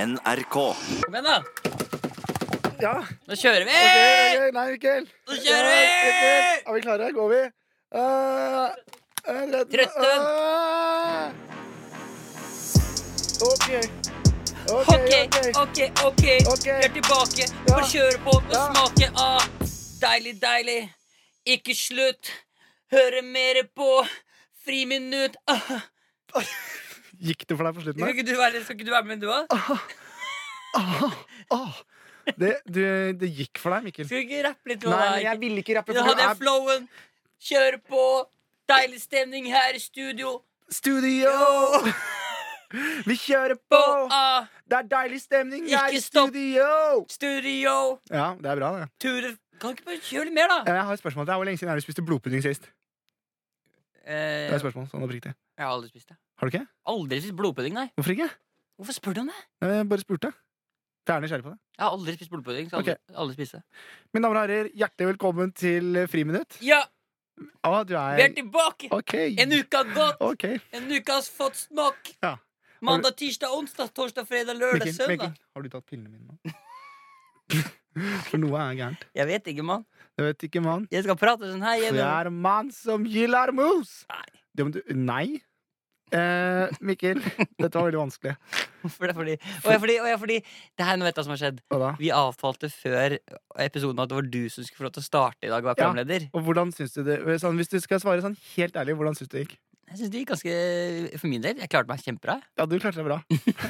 NRK. Kom igjen, da! Ja. Nå kjører vi! Ok, ok, Nei, Mikkel. Nå kjører vi! Ja, Mikkel. Er vi klare? Går vi? Uh, Trøtten. Eh. OK. OK, Ok, OK. ok, ok. Ok. Vi er tilbake. Ja. Får kjøre på og Ja. smake av. Deilig, deilig. Ikke slutt. Høre mer på Friminutt. Ah. Gikk det for deg på slutten Skal der? ikke du være, skal ikke du være med, du òg? Ah, ah. Det, du, det gikk for deg, Mikkel. Skal du ikke rappe litt? nå, Nei, da? men jeg ville ikke rappe. Da For hadde det jeg er flowen. Kjøre på. Deilig stemning her i studio. studio! Vi kjører På på! ah, Det er deilig stemning Ikke her i stopp. studio! studio. Ja, det er bra, det. Ture. Kan du ikke bare kjøre litt mer, da? Jeg har et spørsmål til deg. Hvor lenge siden er det du spiste blodpudding sist? Det Eh, er et spørsmål, sånn oppriktig. jeg har aldri spist det. Har du ikke? Aldri spist blodpudding, nei. Hvorfor ikke? Hvorfor spør du om det? Jeg bare spurte. Jeg er nysgjerrig på det. Jeg har aldri spist blodpudding. Så aldri, Ok. aldri spist det. Mine damer og herrer, hjertelig velkommen til Friminutt. Ja, Å, du er vi er tilbake! Ok. En uke har gått, Ok. en uke har fått smak. Ja. Mandag, tirsdag, onsdag, torsdag, fredag, lørdag, Mikkel, Mikkel, søndag. har du tatt pillene mine nå? For noe er gærent. Jeg vet ikke, mann. Det vet ikke man. Jeg skal prate sånn her For jeg gjennom. er en mann som gillar mus! Nei. Det om du Nei? Eh, Mikkel, dette var veldig vanskelig. For det er fordi, og jeg, er fordi, og jeg, er fordi Det her nå vet jeg hva som har skjedd. Hva da? Vi avtalte før episoden at det var du som skulle få lov til å starte i dag og være Ja. programleder. Og hvordan syns du det sånn, Hvis du skal svare sånn helt ærlig, hvordan syns du det gikk? Jeg synes det gikk ganske For min del, jeg klarte meg kjempebra. jeg. Ja, du klarte deg bra.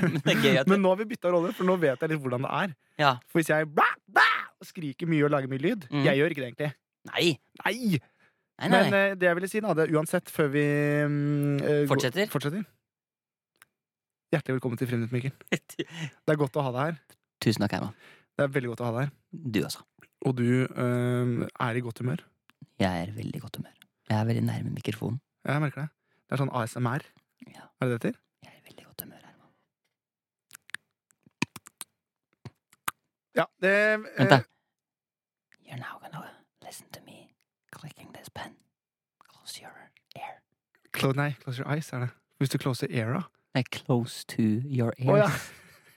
Men det er gøy at Men nå har vi bytta rolle, for nå vet jeg litt hvordan det er. Ja. For hvis jeg bæ, bæ, skriker mye og lager mye lyd Mm. Jeg gjør ikke det, egentlig. Nei! Nei! Nei, nei, Men nei. eh, det jeg ville si, da, det er uansett, før vi mm, eh, går- Fortsetter? fortsetter Hjertelig velkommen til Friminutt, Mikkel. Det er godt å ha deg her. Tusen takk, Herman. Det er veldig godt å ha deg her. Du også. Og du eh, er i godt humør. Jeg er i veldig godt humør. Jeg er veldig nærme mikrofonen. Jeg merker det. Det er sånn ASMR. Ja. Er det det heter? Jeg er i veldig godt humør, Herman. Ja, det Vent, da. eh, Eh. You're now gonna listen to me clicking this pen. Close your ear. clo Nei, close your eyes, er det. Hvis du closer era. Nei, close to your ears. Å ja!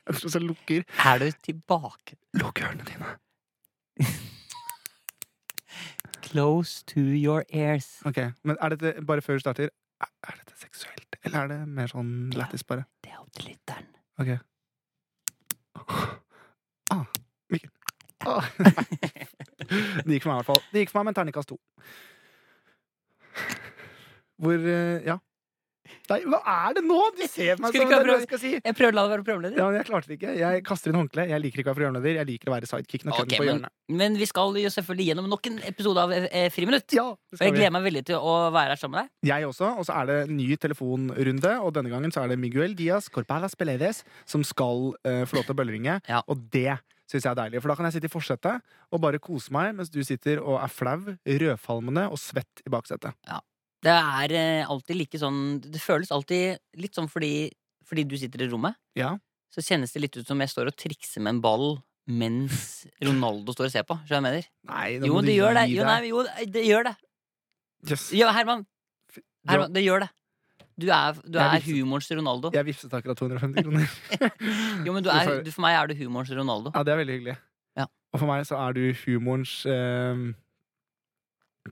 Jeg tror så lukker Er du tilbake? Lukk ørene dine. Close to your ears. Ok, men er dette, bare før du starter, er, er dette seksuelt, eller er det mer sånn lættis bare? Det er opp til lytteren. Ok. Ah, Mikkel. Ah, det gikk for meg i hvert fall. Det gikk for meg med en terningkast to. Hvor, eh, ja. Nei, hva er det nå? Du ser på Skulle meg som ikke ha det er noe jeg skal si. Jeg prøver å la deg være programleder. Ja, men jeg klarte det ikke. Jeg kaster inn håndkle. Jeg liker ikke å være programleder. Jeg liker å være sidekicken og Ok, kødden på hjørnet. Men vi skal jo selvfølgelig gjennom nok en episode av eh, Friminutt. Ja, Og det jeg skal vi. gleder meg veldig til å være her sammen med deg. Jeg også, og så er det en ny telefonrunde, og denne gangen så er det Miguel Diaz Corpalas Peledes som skal eh, få lov til å bølleringe, Ja. og det syns jeg er deilig. For da kan jeg sitte i forsetet og bare kose meg, mens du sitter og er flau, rødfalmende og svett i baksetet. Det er eh, alltid like sånn Det føles alltid litt sånn fordi, fordi du sitter i rommet. Ja. Så kjennes det litt ut som jeg står og trikser med en ball mens Ronaldo står og ser på. Skjønner du hva jeg mener? Nei, nå Jo, må du det gjør det. gi Jo, deg. nei, jo, eh, det gjør det. Yes. Ja, Herman. Du- Herman, det gjør det. Du er, du Jeg er vipset. humorens Ronaldo. Jeg vipset akkurat 250 kroner. Jo, men du Du er, får- du, For meg er du humorens Ronaldo. Ja, det er veldig hyggelig. Ja. Og for meg så er du humorens eh,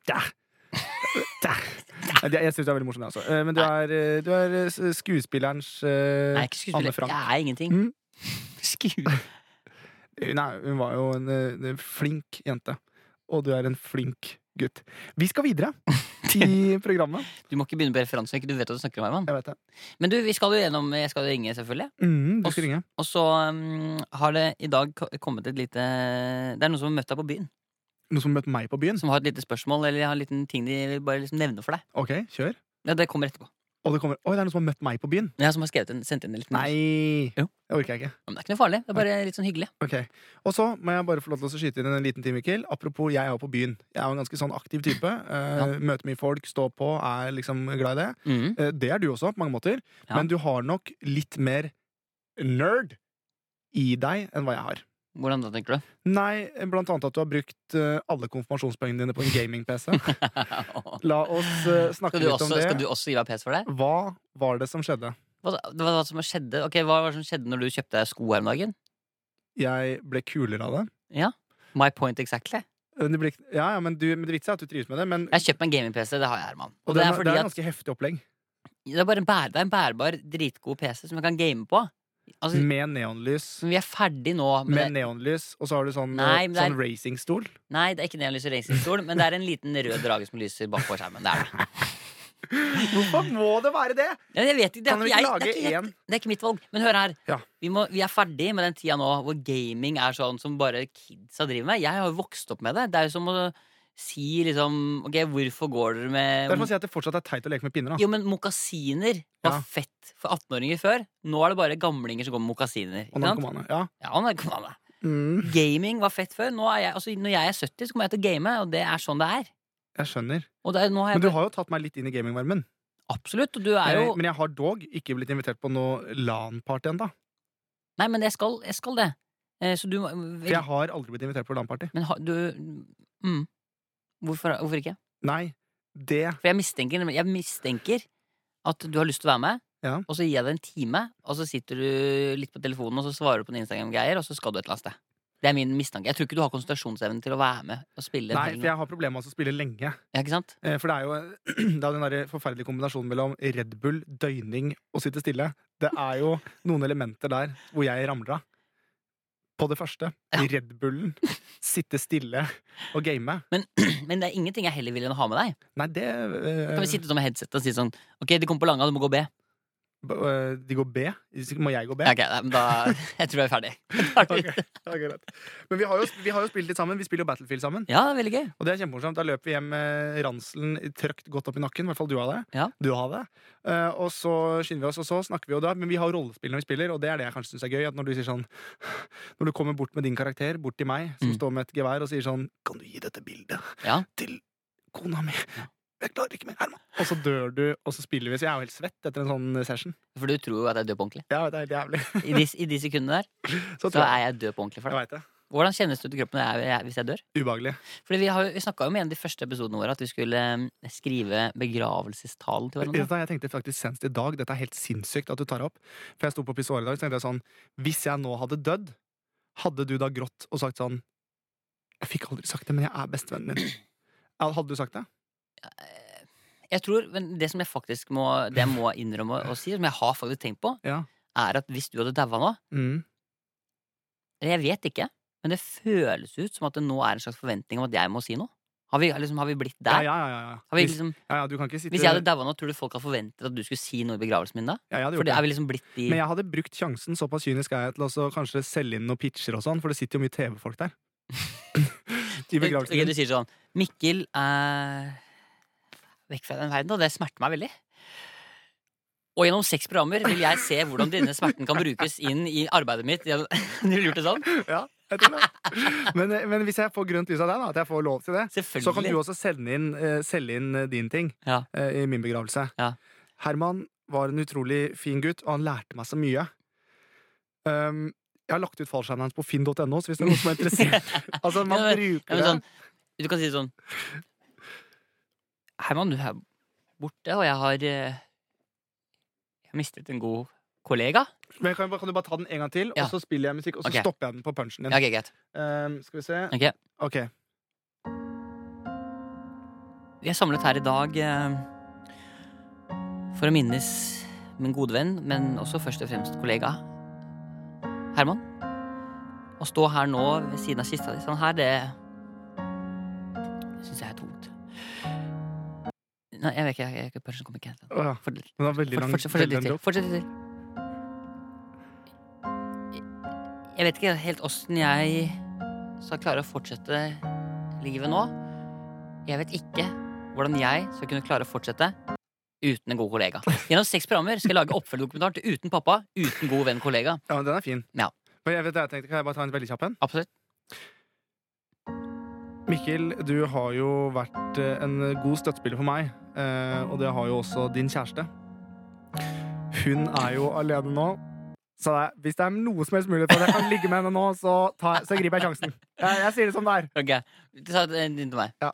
Der! Der! Nei, det- Jeg syns du er veldig morsom, jeg også. Eh, Men du er, eh, du er eh, skuespillerens eh, Nei, jeg er ikke Anne skuespiller. Frank. Jeg er ingenting. Mm. Sku- Hun, er, hun var jo en, eh, en flink jente. Og du er en flink gutt. Vi skal videre i programmet. Du må ikke begynne på referanser. Ikke du vet hva du snakker om, Herman. Jeg vet det. Men du, vi skal jo gjennom Jeg skal jo ringe, selvfølgelig. Mm, du skal ringe. Og så um, har det i dag ko- kommet et lite Det er noen som har møtt deg på byen. Noen som har møtt meg på byen? Som har et lite spørsmål eller har en liten ting de vil bare liksom nevne for deg. Ok, kjør. Ja, det kommer etterpå. Og det kommer Oi, det er noen som har møtt meg på byen? Jeg som har skrevet en, sendt inn en liten Nei! Jo. Det orker jeg ikke. Ja, Men det er ikke noe farlig. Det er bare litt sånn hyggelig. Ok, Og så må jeg bare få lov til å skyte inn en liten time, Mikkel. Apropos jeg er jo på byen. Jeg er jo en ganske sånn aktiv type. Eh, Møter mye folk, står på, er liksom glad i det. Mhm. Eh, det er du også, på mange måter. Ja. Men du har nok litt mer nerd i deg enn hva jeg har. Hvordan da, tenker du? Nei, blant annet at du har brukt eh, alle konfirmasjonspoengene dine på en gaming-PC. La oss eh, snakke skal, du litt også, om det. skal du også gi meg pes for det? Hva var det som skjedde? Hva, det var hva som skjedde Ok, hva var det som skjedde når du kjøpte deg sko her om dagen? Jeg ble kulere av det. My point exactly. Men Det ble, ikke- ja, ja, men, du, men det vitsen er at du trives med det. Men, Jeg har kjøpt meg en gaming-PC. Det har jeg, Herman. Og, og det den- er fordi det er at ganske heftig opplegg. det er bare en, bær, det er en bærbar, dritgod PC som jeg kan game på. Altså, Med neonlys. Vi er ferdig nå. Med Med neonlys, og så har du sånn, Nei, men det er- sånn racingstol. det. Nei, det er ikke neonlys og racingstol, men det er en liten rød drage som lyser bakpå skjermen. Det er det. Hvorfor må det være det?! Ja, jeg vet ikke, det, Kan er vi ikke ikke jeg, det, er lage ikke, én? jeg- det er ikke mitt valg. Men hør her. Ja. Vi, må, vi er ferdig med den tida nå hvor gaming er sånn som bare kidsa driver med. Jeg har jo vokst opp med det. Det er jo som å si liksom Ok, hvorfor går dere Det er som å med si at det fortsatt er teit å leke med pinner. Da. Jo, men mokasiner var Ja. fett for 18-åringer før. Nå er det bare gamlinger som går med mokasiner. Og Ikke sant? narkomane. Ja. Ja, og narkomane. Mm, Gaming var fett før. Nå er jeg, altså, når jeg er 70, så kommer jeg til å game, og det er sånn det er. jeg skjønner. Og det er, nå har jeg Men du har Eh, jo tatt meg litt inn i gamingvarmen. Absolutt. Og du er Jeg- jo Men jeg har dog ikke blitt invitert på noe LAN-party ennå. Nei, men jeg skal, jeg skal det. Eh, Så du må For jeg har aldri blitt invitert på LAN-party. Men har du mm. hvorfor, hvorfor ikke? Nei, det For jeg mistenker, jeg mistenker at du har lyst til å være med, Ja. og så gir jeg deg en time, og så sitter du litt på telefonen, og så svarer du på en Instagram-greier, og så skal du et eller annet sted. Det er min mistanke. Jeg tror ikke du har konsentrasjonsevne til å være med og spille. en Nei, hel- for jeg har problemer med å spille lenge. ja, ikke sant? Eh, For det er jo det er jo den der forferdelige kombinasjonen mellom Red Bull, døgning og sitte stille. Det er jo noen elementer der hvor jeg ramler av. På det første. I Red Bullen. Sitte stille og game. Men, men det er ingenting jeg heller vil enn å ha med deg. Nei, det eh, Kan vi sitte som headset og si sånn Ok, de kommer på Langa, du må gå B. b- eh, De går B. Må jeg gå B? Ja, ok, nei, men da Jeg tror jeg er ferdig. Da er det- Ok, ja, greit. Men vi har, jo, vi har jo spilt litt sammen. Vi spiller jo Battlefield sammen. Ja, det er veldig gøy. Og det er kjempemorsomt. Da løper vi hjem med ranselen trøkt godt opp i nakken. I hvert fall du har det. Ja. Du har det. Eh, og så skynder vi oss, og så snakker vi jo da. Men vi har rollespill når vi spiller, og det er det jeg kanskje syns er gøy. At når du sier sånn Når du kommer bort med din karakter, bort til meg, som Mm. står med et gevær, og sier sånn Kan du gi dette bildet Ja. til kona mi? Jeg klarer ikke mer, Herman. Og så dør du, og så spiller vi. Så jeg er jo helt svett etter en sånn session. For du tror jo at jeg dør på ordentlig. Ja, det er helt jævlig. I de, i de sekundene der Så så tror jeg, er jeg død på ordentlig for deg. jeg veit det. Hvordan kjennes det ut i kroppen når jeg, jeg, hvis jeg dør? Ubehagelig. Fordi Vi, har jo- vi snakka jo med en av de første episodene våre at vi skulle eh, skrive begravelsestalen til hverandre. Dette, har jeg tenkte faktisk senest i dag Dette er helt sinnssykt at du tar opp. For jeg sto på pissoaret i dag, så tenkte jeg sånn Hvis jeg nå hadde dødd, hadde du da grått og sagt sånn Jeg fikk aldri sagt det, men jeg er bestevennen din. Ja, Hadde du sagt det? Jeg tror, men Det som jeg faktisk må, det jeg må innrømme å si, som jeg har faktisk tenkt på, Ja. er at hvis du hadde daua nå Mm. eller Jeg vet ikke, men det føles ut som at det nå er en slags forventning om at jeg må si noe. Har vi, liksom, har vi blitt Ja, der? ja, ja, ja, ja. Har vi Hvis, liksom, ja, ja. Du kan ikke sitte hvis jeg hadde daua nå, tror du folk hadde forventet at du skulle si noe i begravelsen min da? ja, jeg For hadde det gjort det. er vi liksom blitt de Men jeg hadde brukt sjansen, såpass kynisk er jeg, til også kanskje selge inn noen pitcher og sånn, for det sitter jo mye TV-folk der. Ok, I begravelsen Du din. sier sånn Mikkel er vekk fra den verden, og det smerter meg veldig. Og gjennom seks programmer vil jeg se hvordan denne smerten kan brukes inn i arbeidet mitt. Du ville gjort det sånn? Ja, jeg tror det. Men, eh, men hvis jeg får grønt lys av deg, da, at jeg får lov til det, Så kan du Selvfølgelig. også sende inn, eh, selge inn eh, din ting Ja. eh, i min begravelse. Ja. Herman var en utrolig fin gutt, og han lærte meg så mye. Um, jeg har lagt ut fallskjermen hans på finn.no, så hvis det er noen som er interessert Altså, man Ja, men- Ja, bruker men det. sånn, du kan si sånn Herman, du er borte, og jeg har eh, Jeg har mistet en god kollega. Men kan, jeg bare- kan du bare ta den en gang til, Ja. og så spiller jeg musikk, og så Ok. stopper jeg den på punchen din. Ja, ok, greit. Um, skal vi se. Ok. Ok. Vi er samlet her i dag eh, for å minnes min gode venn, men også først og fremst kollega Herman. Å stå her nå ved siden av kista di sånn her, det syns jeg er tungt. Nei, jeg vet ikke. jeg- jeg- Punchen kommer ikke helt. Å, ja. Fort- Den var veldig fort- lang. Fortsett fortsett veldig litt til. lang joke. Fortsett litt til. Jeg vet ikke helt åssen jeg skal klare å fortsette livet nå. Jeg vet ikke hvordan jeg skal kunne klare å fortsette uten en god kollega. Gjennom seks programmer skal jeg lage oppfølgedokumentar til Uten pappa, uten god venn kollega. Ja, men den er fin. Ja. Men jeg vet, det jeg tenkte, kan jeg bare ta en veldig kjapp en? Absolutt. Mikkel, du har jo vært eh, en god støttespiller for meg, eh, og det har jo også din kjæreste. Hun er jo alene nå, så det er, hvis det er noe som helst mulighet for at jeg kan ligge med henne nå, så, tar, så griper jeg sjansen. Jeg, jeg sier det som det er. Ok, Ta den din til meg. Ja.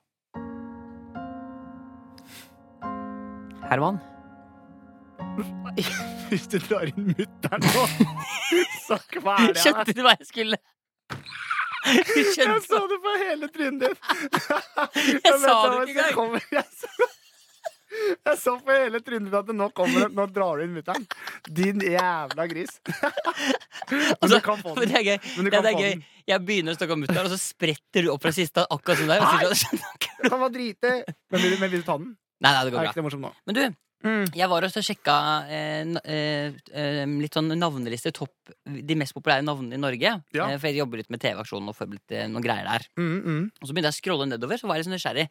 Herman. Hvis du drar inn mutter'n nå, så kveler jeg deg. Skjønte du hva jeg skulle? Jeg Skjønte så det på hele trynet ditt. Jeg, sa det vet ikke engang. kommer- Jeg så, jeg så på hele trynet ditt at det nå kommer det- Nå drar du inn mutter'n. Din jævla gris. Men du Altså, kan få Men den. det er gøy. Men du Ja, kan det er få gøy. den. Jeg begynner å snakke om mutter'n, og så spretter du opp fra kista akkurat som der. Og sier, sånn, Du kan bare drite. Men vil, du- men vil du ta den? nei, nei, det går Er bra. ikke det morsomt nå? Men du, jeg var også og sjekka eh, na- eh, eh, litt sånn navnelister. Topp de mest populære navnene i Norge. Ja. Eh, for jeg jobber litt med TV-aksjonen og får litt eh, noen greier der. Mm, mm. Og så begynte jeg å scrolle nedover, så var jeg litt sånn nysgjerrig.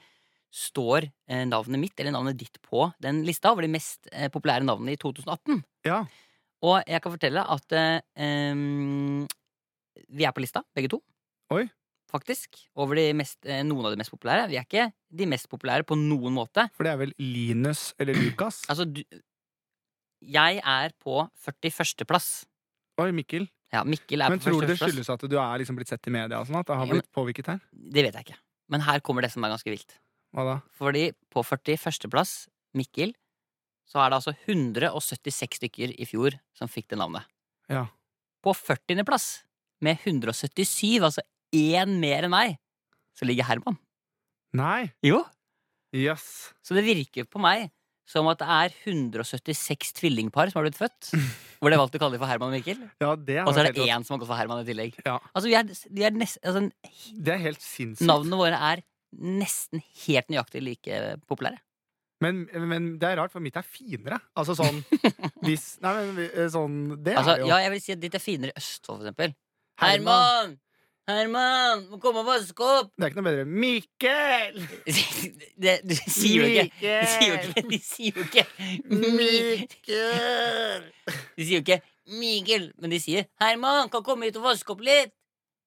Står eh, navnet mitt eller navnet ditt på den lista over de mest eh, populære navnene i 2018? Ja. Og jeg kan fortelle at eh, em, vi er på lista, begge to. Oi. Faktisk. Over de mest, eh, noen av de mest populære. Vi er ikke de mest populære på noen måte. For det er vel Linus eller Lukas? Altså, du Jeg er på 41. plass. Oi, Mikkel. Ja, Mikkel er Men på tror du det 41. plass. skyldes at du er liksom blitt sett i media? og sånn At det har Ja, men- blitt påvirket her? Det vet jeg ikke. Men her kommer det som er ganske vilt. Hva da? Fordi på 41. plass, Mikkel, så er det altså 176 stykker i fjor som fikk det navnet. Ja. På 40. plass, med 177, altså én mer enn meg, så ligger Herman. Nei. Jo. Jøss. Så det virker på meg som at det er 176 tvillingpar som har blitt født. Hvor de har valgt å kalle dem for Herman og Mikkel. Ja, det har Og så er vært det helt én som har gått for Herman i tillegg. Ja. Altså, vi er, vi er nest, altså, rått. Det er helt sinnssykt. navnene våre er nesten helt nøyaktig like populære. Men, men det er rart, for mitt er finere. Altså sånn hvis Nei, men eh, sånn Det Altså, er det jo. ja, jeg vil si at ditt er finere i Østfold, for eksempel. Herman. Herman! Herman! Må komme og vaske opp! Det er ikke noe bedre. Mikkel! Det, du sier jo ikke De sier jo ikke De sier jo ikke Mi- Mikkel! De sier jo ikke Miguel, men de sier Herman, kan komme hit og vaske opp litt?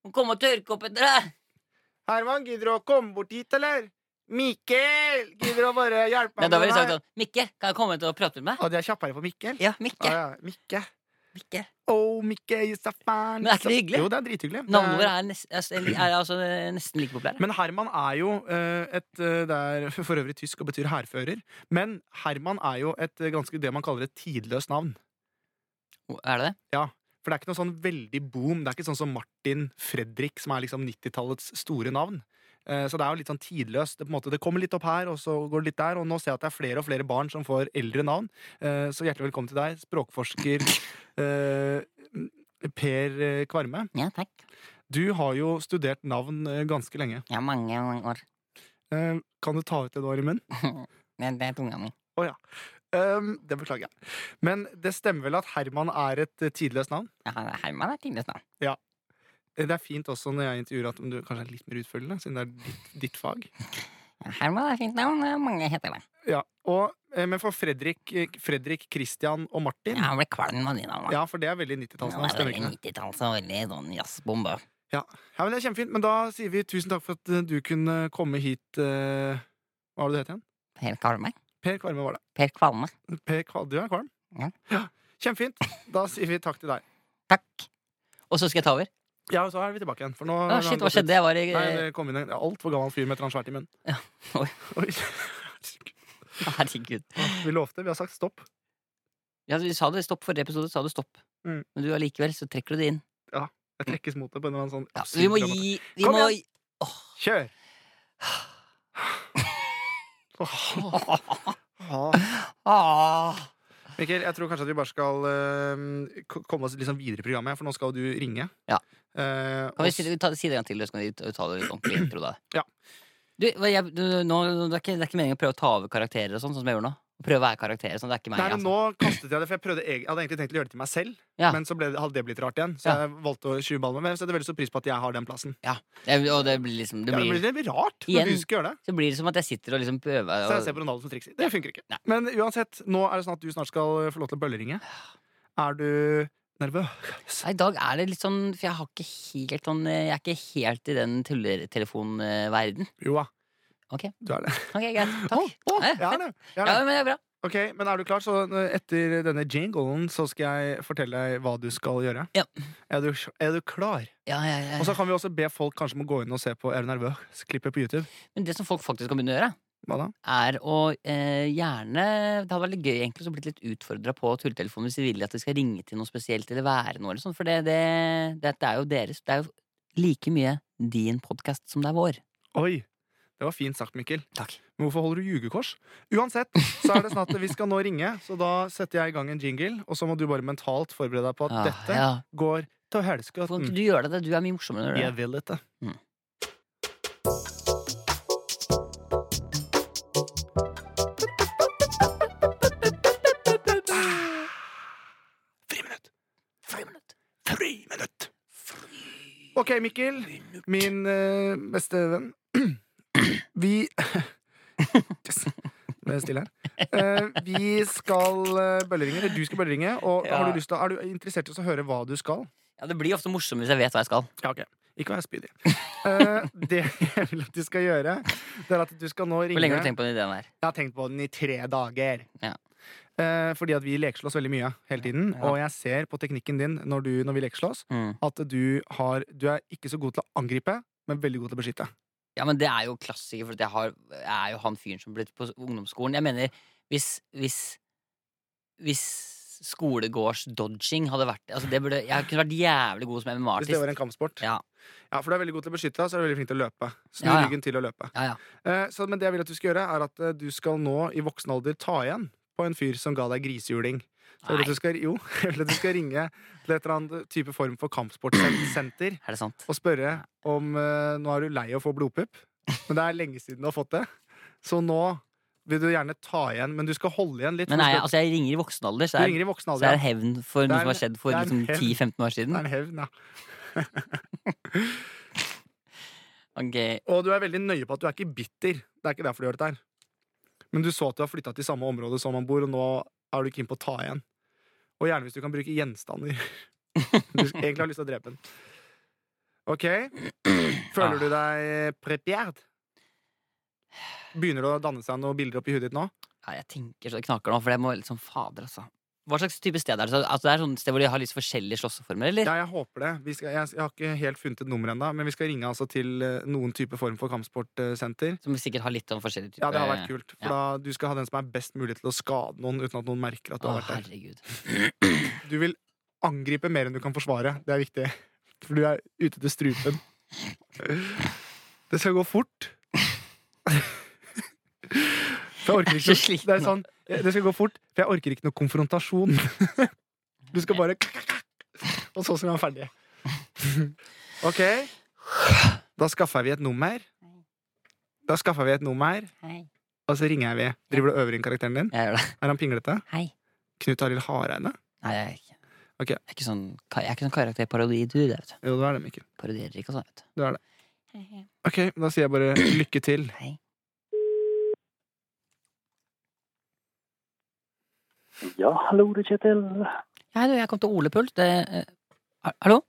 Må komme og tørke opp etter deg? Herman, gidder du å komme bort hit, eller? Mikkel! Gidder du å bare hjelpe Nei, meg da ville med jeg sagt det her? sånn Mikke, kan jeg komme hit og prate med deg? Og de er kjappere på Mikkel? Ja, Ja, Mikke. ja. Mikke. Mikke. Oh, Mikke, you're so fine. Men er ikke det hyggelig? Jo, det er drithyggelig. Navnene Det er- våre er, nest, altså, er altså nesten like populære. Men Herman er jo eh, et eh, Det er for øvrig tysk og betyr hærfører. Men Herman er jo et eh, ganske det man kaller et tidløst navn. Er det det? For det er ikke noe sånn veldig boom. Det er ikke sånn som Martin Fredrik, som er liksom 90-tallets store navn. Eh, Så det er jo litt sånn tidløst. Det, på en måte, det kommer litt opp her, og så går det litt der. Og nå ser jeg at det er flere og flere barn som får eldre navn. Eh, Så hjertelig velkommen til deg, språkforsker eh, Per eh, Kvarme. Ja, takk. Du har jo studert navn eh, ganske lenge. Jeg har mange år. Eh, Kan du ta ut det du har i munnen? Det, det er tunga mi. Um, Det beklager jeg. Men det stemmer vel at Herman er et eh, tidløst navn? Herman er tidligst navn. Det er fint også når jeg intervjuer at om du kanskje er litt mer utfølgende, siden det er ditt, ditt fag. Herman er fint navn. Mange heter det. Ja, og, eh, men for Fredrik, eh, Fredrik, Christian og Martin ja. Jeg ble kvalm av de navnene. for det er veldig 90-tallsnavn. det er stemmer veldig ikke det? 90-talls og veldig sånn jazzbombe. Ja, men det er kjempefint, men da sier vi tusen takk for at eh, du kunne komme hit eh, Hva var det du het igjen? Per Kvalme. Per Kvarme var det. Per Kvalme. Per Kva- du er kvalm? Ja. Kjempefint. Da sier vi takk til deg. Takk. Og så skal jeg ta over. Ja, og så er vi tilbake igjen. For nå Å, shit, hva skjedde? Jeg var i Nei, det kom inn en altfor gammel fyr med et eller annet svært i munnen. Eh, Ja, oi. Oi. Herregud. Vi lovte, vi har sagt stopp. Ja, du sa det stopp forrige episode, sa du stopp. Mm. Men du allikevel, så trekker du det inn. Jeg trekkes mot det på en eller annen sånn Ja, så vi må absurd gi Vi Kom må igjen. Kjør! Åh. Åh. Ah. Mikkel, jeg tror kanskje at vi bare skal eh, ko- komme oss liksom videre i programmet, for nå skal du ringe. Ja. Eh, Kan vi og si, s- vi ta, si det en gang til, så kan vi ta ta det litt ordentlig intro, da? Ja. Du, hva jeg, du nå, det, er ikke, det er ikke meningen å prøve å ta over karakterer og sånn, sånn som jeg gjør nå. Prøve å være karakterer og sånn. Det er ikke meg. Nei, altså. men nå kastet jeg det, for jeg, prøvde, eg- jeg hadde egentlig tenkt å gjøre det til meg selv, Ja. men så ble, det- hadde det blitt rart igjen. Så Ja. jeg valgte å skyve ballen. Men jeg setter veldig stor pris på at jeg har den plassen. Jeg, og det blir liksom det Ja, det, blir, blir, det blir rart Igjen. når du skal gjøre det. Så blir det som at jeg sitter og liksom prøver Så jeg og, ser på Ronaldo som trikser. Det funker ikke. Nei. Men uansett, nå er det sånn at du snart skal få lov til å bølleringe. Er du nervøs? Nei, I dag er det litt sånn For jeg har ikke helt sånn eh, Jeg er ikke helt i den tulletelefonverden. Jo da. Ok. Du er det. Ok, greit. Takk. Å, å, Ja, jeg er det. Jeg er Ja, det. men det er bra. Ok, men er du klar? Så eh, etter denne jinglen så skal jeg fortelle deg hva du skal gjøre. Ja. Eh. Er du, er du klar? Ja, ja, ja. Og så kan vi også be folk kanskje om å gå inn og se på Er du nervøs? Klippet på YouTube. Men det som folk faktisk kan begynne å gjøre, Hva da? er å eh, gjerne Det hadde vært litt gøy egentlig å bli litt utfordra på tulletelefonen hvis de vil at det skal ringe til noe spesielt eller være noe eller sånn, for det, det, dette er jo deres Det er jo like mye din podkast som det er vår. Oi! Det var fint sagt, Mikkel. Takk. Men hvorfor holder du jugekors? Uansett, så er det sånn at vi skal nå ringe, så da setter jeg i gang en jingle, og så må du bare mentalt forberede deg på at Ja, dette Ah, Mm. ja. går til Hvorfor kan helskatten. ikke du gjøre det? Du er mye morsommere når du gjør det. Jeg vil dette. Mm. Friminutt! Friminutt. Friminutt! Ok, Mikkel, min eh, beste venn. Vi Yes. Nå er jeg stille her. Eh, vi skal eh, bølleringe, eller du skal bølleringe. Og Ja. har du lyst til, å- er du interessert i å høre hva du skal? Ja, det blir ofte morsommere hvis jeg vet hva jeg skal. Ja, ok. Ikke vær spydig. Eh, det jeg vil at du skal gjøre, det er at du skal nå ringe Hvor lenge har du tenkt på den ideen her? Jeg har tenkt på den i tre dager. Ja. Eh, fordi at vi lekeslåss veldig mye hele tiden. Ja. Og jeg ser på teknikken din når, du, når vi lekeslåss, Mm. at du, har, du er ikke så god til å angripe, men veldig god til å beskytte. Ja, men det er jo klassiker, for at jeg, har, jeg er jo han fyren som ble på ungdomsskolen. Jeg mener, hvis, hvis, hvis skolegårds-dodging hadde vært altså det burde, Jeg kunne vært jævlig god som Hvis det var MMA-artist. en kampsport. Ja. Ja, For du er veldig god til å beskytte deg, og så er du veldig flink til å løpe. Snu Ja, ja. ryggen til å løpe. Ja, ja. Eh, så, men det jeg vil at du skal gjøre, er at eh, du skal nå i voksen alder ta igjen på en fyr som ga deg grisehjuling. Så jeg vil at du skal, jo, jeg vil at du skal ringe til et eller annet type form for kampsportsenter Er det sant? og spørre om eh, Nå er du lei av å få blodpupp, men det er lenge siden du har fått det. Så nå vil du gjerne ta igjen, men du skal holde igjen litt. Men for nei, jeg, du skal- altså, jeg ringer i voksen alder, så du det er, ringer i voksen så det alder. er hevn for Det er noe som en- har skjedd for det er en liksom, 10-15 år hevn. ja. Det siden. er en hevn, ja. Ok, Og du er veldig nøye på at du er ikke bitter. Det er ikke derfor du gjør dette her. Men du så at du har flytta til samme område som han bor, og nå er du keen på å ta igjen. Og gjerne hvis du kan bruke gjenstander. Du s- egentlig har lyst til å drepe den. OK. Føler du deg prepared? Begynner det å danne seg noen bilder opp i huet ditt nå? ja, Jeg tenker så det knaker nå, for jeg må liksom Fader, altså. Hva slags type sted er det? Så, altså, det er sånn sted hvor de har litt forskjellige slåsseformer, eller? Ja, jeg håper det. Vi skal, jeg, jeg har ikke helt funnet et nummer ennå, men vi skal ringe altså til eh, noen type form for kampsportsenter. Som sikkert har litt sånn forskjellig type Ja, det har vært kult. For ja. da du skal ha den som er best mulig til å skade noen uten at noen merker at du Å, har vært der. herregud. Du vil angripe mer enn du kan forsvare. Det er viktig. For du er ute til strupen. Det skal gå fort. For jeg Jeg orker er så ikke noe, sliten det, er sånn, det skal gå fort, for jeg orker ikke noe konfrontasjon. Du skal bare Og så skal vi være ferdige. OK. Da skaffer vi et nummer. Da skaffer vi et nummer, Hei. og så ringer jeg vi. Driver du og øver inn karakteren din? Jeg gjør det. Er han pinglete? Hei. Knut Arild Hareide? Nei, jeg er ikke Ok. Jeg er ikke sånn, jeg er ikke sånn karakterparodidur. jeg, vet du. Jo, det er det, Mikkel. Parodierer ikke og sånn, vet du. Du er det. Ok, da sier jeg bare lykke til. Hei. Ja, hallo, det er Kjetil. Hei, du, jeg kom til Ole Puls. Det, eh, ha- hallo?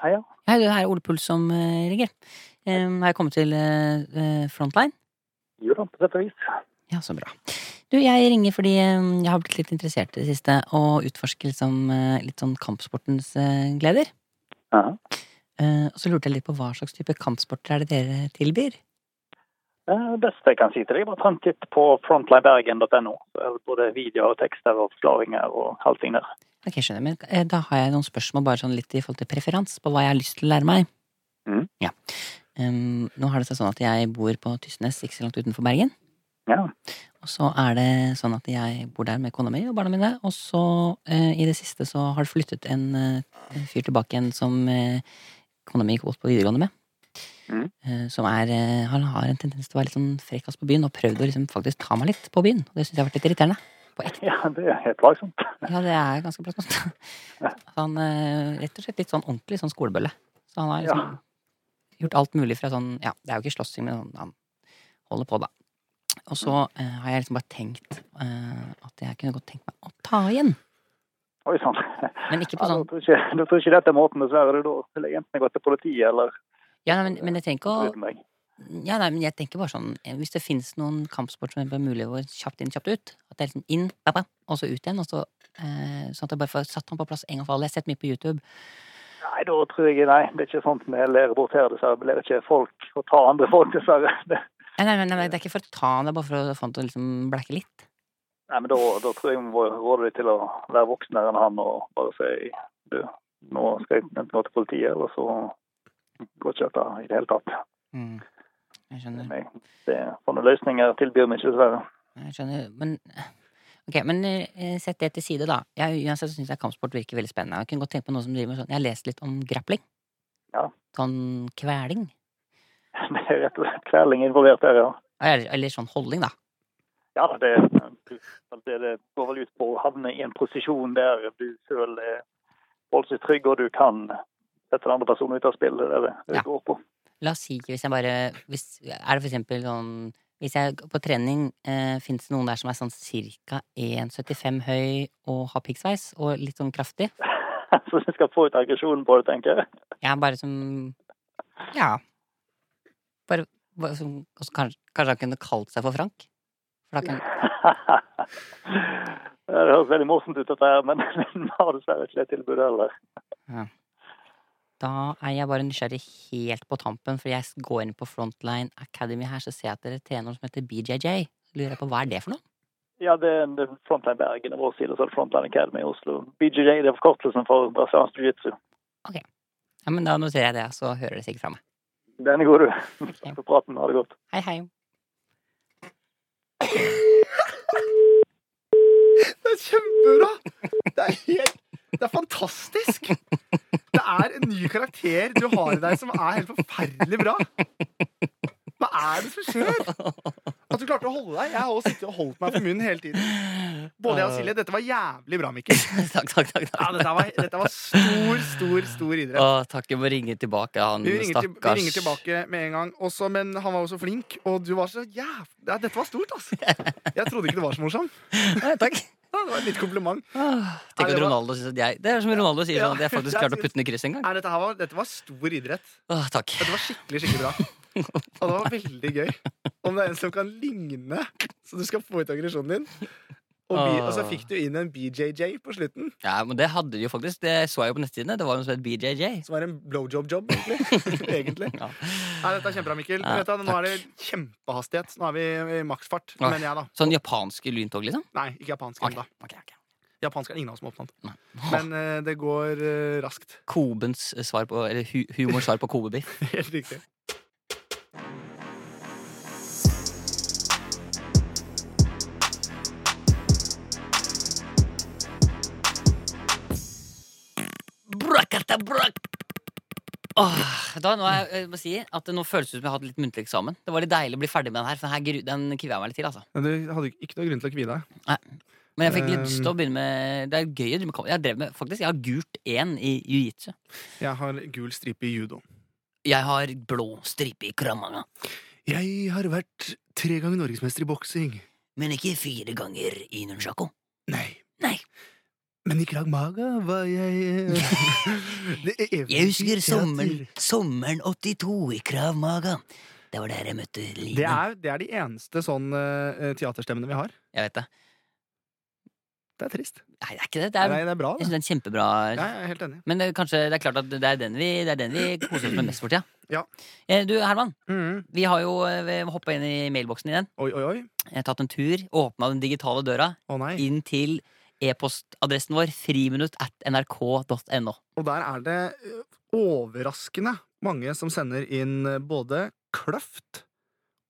Hei, ja. Hei, du, det er Ole Puls som eh, ringer. Um, har jeg kommet til eh, eh, Frontline? Jo da, på sett og vis. Ja, så bra. Du, jeg ringer fordi eh, jeg har blitt litt interessert i det siste, og utforsker liksom, eh, litt sånn kampsportens eh, gleder. Ja. Eh, og så lurte jeg litt på hva slags type kampsporter er det dere tilbyr? Eh, Det beste jeg kan si til deg, bare ta en titt på frontlinebergen.no. Så er det Både videoer og tekster og forklaringer og allting der. Ok, skjønner jeg, men eh, Da har jeg noen spørsmål bare sånn litt i forhold til preferans på hva jeg har lyst til å lære meg. Mhm. Ja. Ehm, nå har det seg sånn at jeg bor på Tysnes, ikke så langt utenfor Bergen. Ja. Og så er det sånn at jeg bor der med kona mi og barna mine. Og så eh, i det siste så har det flyttet en, eh, en fyr tilbake igjen som eh, kona mi gikk godt på videregående med. Mhm. Eh, som er eh, Han har en tendens til å være litt sånn frekkas på byen, og prøvd å liksom faktisk ta meg litt på byen. Og det syns jeg har vært litt irriterende. ja, det er helt plagsomt. Ja, det er ganske plagsomt. Så Han eh, rett og slett litt sånn ordentlig sånn skolebølle. Så han har liksom Ja. gjort alt mulig fra sånn Ja, det er jo ikke slåssing, men sånn, han holder på, da. Og så eh, har jeg liksom bare tenkt eh, at jeg kunne godt tenkt meg å ta igjen. Oi sann. Men Ja, ikke på da sånn tror jeg ikke, da tror jeg ikke dette er måten, dessverre. Da ville jeg enten gått til politiet eller Ja, nei, men, men jeg tenker å uten meg. Ja, nei, men jeg tenker bare sånn eh, Hvis det fins noen kampsport som er mulig å gå kjapt inn, kjapt ut At det er liksom inn, bap, bap, og så ut igjen, og så eh, Sånn at jeg bare får satt han på plass en gang for alle. Jeg har sett mye på YouTube. Nei, da sånn tror jeg Nei, det er ikke sånt vi lærer bort her, dessverre. Vi lærer ikke folk å ta andre folk, dessverre. Det, Nei, nei, nei, nei, det er ikke for å ta, det er bare for å få han til å liksom blekke litt. Nei, men da, da tror jeg vi må råde deg til å være voksnere enn han og bare si du, nå skal jeg enten gå til politiet, eller så går ikke dette i det hele tatt. Jeg skjønner. Nei, det, sånne løsninger tilbyr vi ikke, dessverre. Jeg skjønner, men Ok, men eh, sett det til side, da. Jeg uansett syns jeg kampsport virker veldig spennende. Jeg kunne godt tenke på noen som driver med sånn Jeg har lest litt om grappling. Ja. Sånn kveling. Det er rett og slett kveling involvert der, ja. Eller, eller sånn holdning, da. Ja, det, det, det går vel ut på å havne i en posisjon der du selv er voldsomt trygg, og du kan sette den andre personen ut av spill. Det er det det Ja. går på. La oss si hvis jeg bare hvis, Er det for eksempel sånn Hvis jeg g- på trening eh, Fins det noen der som er sånn cirka 1,75 høy og har piggsveis og litt sånn kraftig? Så du skal få ut aggresjonen på det, tenker jeg. Jeg er bare som Ja. Bare, bare som, og så kanskje, kanskje han kunne kalt seg for Frank? For da kan, det høres veldig morsomt ut, dette her, men vi har dessverre ikke det tilbudet heller. Da er jeg bare nysgjerrig helt på tampen, for jeg s- går inn på Frontline Academy her, så ser jeg at dere trener noe som heter BJJ. Lurer jeg på, Hva er det for noe? Ja, det er det er Frontline Bergen og vår side, så er det Frontline Academy i Oslo. BJJ det er forkortelsen for brasiliansk jiu-jitsu. Ja, men Da noterer jeg det, så hører dere sikkert fra meg. Den er god, du. Takk for praten. Ha det godt. Hei, hei. Det er kjempebra! Det er helt Det er fantastisk! Det er en ny karakter du har i deg som er helt forferdelig bra. Hva er det som skjer? At du klarte å holde deg. Jeg har også sittet og holdt meg for munnen hele tiden. Både jeg og Silje, dette var jævlig bra, Mikkel. takk, takk, takk. Ja, takk. dette var, dette var stor, stor, stor idrett. Å, takk, jeg må ringe tilbake han Vi ringer, til, vi stakkars ringer tilbake med en gang. Også, men han var jo så flink, og du var så jævlig ja, Dette var stort, altså! Jeg trodde ikke det var så morsomt. Nei, takk. Ja, det var et lite kompliment. Åh, Nei, Tenk det at var- Ronaldo synes at jeg Det er som Ronaldo sier, Ja, sånn at jeg faktisk jeg klarte å synes- putte den i kryss en gang. Nei, dette, her var, dette var stor idrett. Åh, takk. Dette var skikkelig, skikkelig bra. Og det var veldig gøy. Om det er en som kan ligne, så du skal få ut aggresjonen din. Og, bi- og så fikk du inn en BJJ på slutten, Ja, men Det hadde de jo faktisk. Det så jeg jo på nettsidene. Det var jo noe som het BJJ. som var en blowjob-job, egentlig. egentlig. Ja. Nei, dette er kjempebra, Mikkel. Ja, Vet du, nå er det kjempehastighet. Nå er vi i maksfart, Ja. mener jeg, da. Sånn japanske lyntog, liksom? Nei, ikke japansk Ok, ennå. ok, ok. Japansk er det ingen av oss som har oppnådd. Nei. Men eh, det går eh, raskt. Kobens svar på Eller hu humors svar på kobebiff. Helt riktig. Brakata brak. Åh, Da, nå er, jeg- jeg må si at det nå føles det ut som jeg har hatt litt muntlig eksamen. Det var litt deilig å bli ferdig med den her, for den her gru- den kvier jeg meg litt til. altså Men du hadde ikke noe grunn til å kvie deg. Men jeg fikk litt Um. lyst til å begynne med Det er gøy å drive med kom- Jeg drev med, faktisk, jeg har gult én i jiu-jitsu. Jeg har gul stripe i judo. Jeg har blå stripe i kramanga, Jeg har vært tre ganger norgesmester i boksing. men ikke fire ganger i nunchako. Nei. Nei. Men i Krag Maga var jeg eh, Jeg husker sommeren, sommeren 82 i Krav Maga. Det var der jeg møtte Line. Det er, det er de eneste sånn eh, teaterstemmene vi har. Jeg vet det. Det er trist. Nei, det er ikke det. det er, Nei, det er bra, jeg det. syns det er en kjempebra Ja, jeg er helt enig. Men det, kanskje det er klart at det er den vi, det er den vi koser oss med mest for tida. Ja. Eh, Du, Herman, Mhm. vi har jo hoppa inn i mailboksen igjen. Oi, oi, oi. Jeg har tatt en tur, åpna den digitale døra Å nei. inn til e-postadressen vår friminutt at nrk.no. Og der er det eh, overraskende mange som sender inn eh, både kløft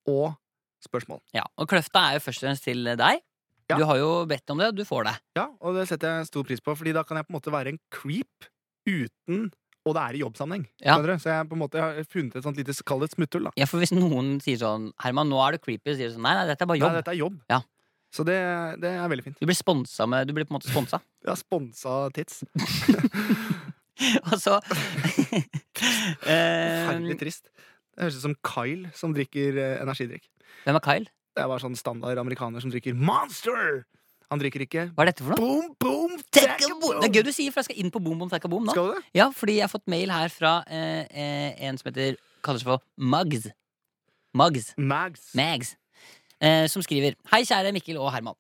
og spørsmål. Ja, og Kløfta er jo først og fremst til deg. Ja. Du har jo bedt om det, og du får det. Ja, og det setter jeg stor pris på, Fordi da kan jeg på en måte være en creep uten Og det er i jobbsammenheng. Ja. skjønner du? Så jeg på en måte har funnet et sånt lite kall det et smutthull. da Ja, for Hvis noen sier sånn 'Herman, nå er du creepy', så sier du sånn 'Nei, nei, dette er bare Nei, jobb'. dette er jobb. Ja. Så det, det er veldig fint. Du blir sponsa med Du blir på en måte sponsa. Jeg har sponsa tits. og så Forferdelig eh, trist. Det høres ut som Kyle som drikker eh, energidrikk. Hvem er Kyle? Det er bare sånn standard amerikaner som drikker Monster! Han drikker ikke Hva er dette for noe? Boom, boom, Take take a a boom. Det er gøy du sier, for jeg skal inn på Boom Boom Takka Boom nå. Skal du det? Ja, fordi jeg har fått mail her fra eh, eh, en som heter, kaller seg for Mugs. Mugs. Mags. Mags. Eh, som skriver Hei, kjære Mikkel og Herman.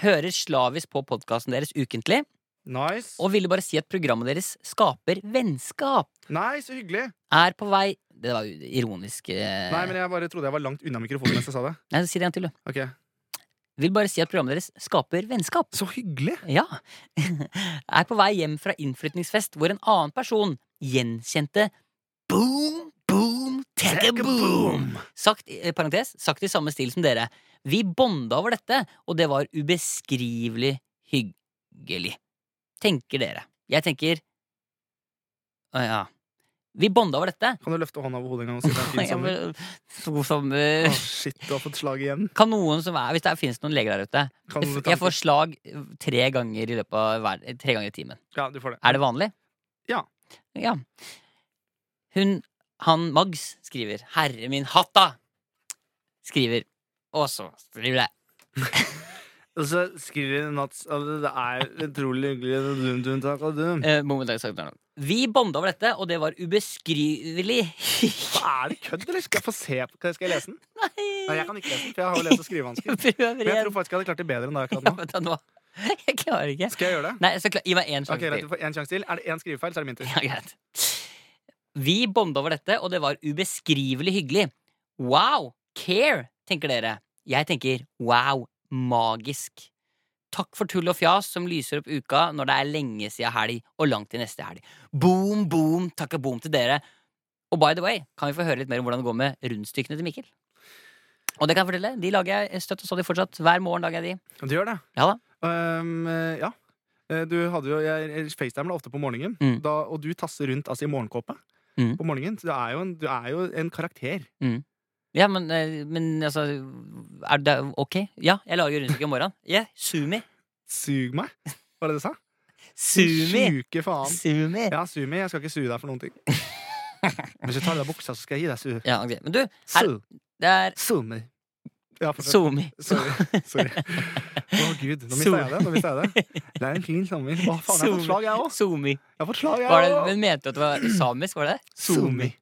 Hører slavisk på podkasten deres ukentlig Nice. og ville bare si at programmet deres skaper vennskap. Nei, så hyggelig. Er på vei Det var jo ironisk. eh. Nei, men jeg bare trodde jeg var langt unna mikrofonen mens jeg sa det. Nei, si det en til, du. Ok, Vil bare si at programmet deres skaper vennskap. Så hyggelig! Ja. Er på vei hjem fra innflytningsfest hvor en annen person gjenkjente boom, boom, take a boom. Sagt, eh, parentes, sagt i samme stil som dere. Vi bonda over dette, og det var ubeskrivelig hyggelig. Tenker dere. Jeg tenker Å ja. Vi bonda over dette. Kan du løfte hånda over hodet en gang og si det er en fin Jeg sommer? vil- God sommer. Å, shit, du har fått slag igjen. Kan noen som er, Hvis det finnes noen leger der ute Kan du ta Jeg får slag eh, tre ganger i løpet av hver, eh, tre ganger i timen. Ja, du får det. Er det vanlig? Ja. Ja. Hun, han Mags, skriver 'Herre min hatt, da!' Skriver. Og så skriver det. Og så skriver hun at det er utrolig hyggelig Eh, momentarisk sagt, Arnold. Vi bonda over dette, og det var ubeskrivelig Er det kødd, eller? Skal jeg få se på Skal jeg lese den? Nei, jeg Nei! kan ikke lese den, for jeg har jo lese- og skrivevansker. Prøv Men jeg tror igjen. faktisk jeg hadde klart det bedre enn det jeg Ja, har klart nå. vent da nå. Jeg klarer ikke. Skal jeg gjøre det? Nei, jeg skal kla- Gi meg én Ok, sjanse greit, til. du får en sjanse til. Er det én skrivefeil, så er det min tur. Ja, greit. Vi bonda over dette, og det var ubeskrivelig hyggelig. Wow! Care, tenker dere. Jeg tenker wow, magisk. Takk for tull og fjas som lyser opp uka når det er lenge siden helg og langt til neste helg. Boom, boom, takka boom til dere. Og by the way, kan vi få høre litt mer om hvordan det går med rundstykkene til Mikkel? Og det kan jeg fortelle, de lager jeg støtt og stadig fortsatt. Hver morgen lager jeg de. Du gjør det? Ja da. Ehm, eh, ja. Eh, Du hadde jo, jeg facetimer deg ofte på morgenen, Mm. da, og du tasser rundt altså, i morgenkåpe Mm. på morgenen. Så du er jo en, du er jo en karakter. Ja, men, eh, men altså Er det ok? Ja, jeg lager rundstykke om morgenen. Yeah, sumi. Sug meg, var det det du sa? Sumi! Sjuke faen. Sumi! Ja, sumi. Jeg skal ikke suge deg for noen ting. Hvis du tar av deg buksa, så skal jeg gi deg su. Ja, ok. Men du, Su. det er Sumi. Ja, fortsett. Sumi. Sorry. Sorry. Å, gud. Nå mista jeg det. Nå mistet jeg det. Det er en fin sommer. Å, faen, jeg har fått slag, jeg òg. Sumi. Jeg har fått slag, Var det, jeg òg. men mente du at det var samisk? var det det? Sumi.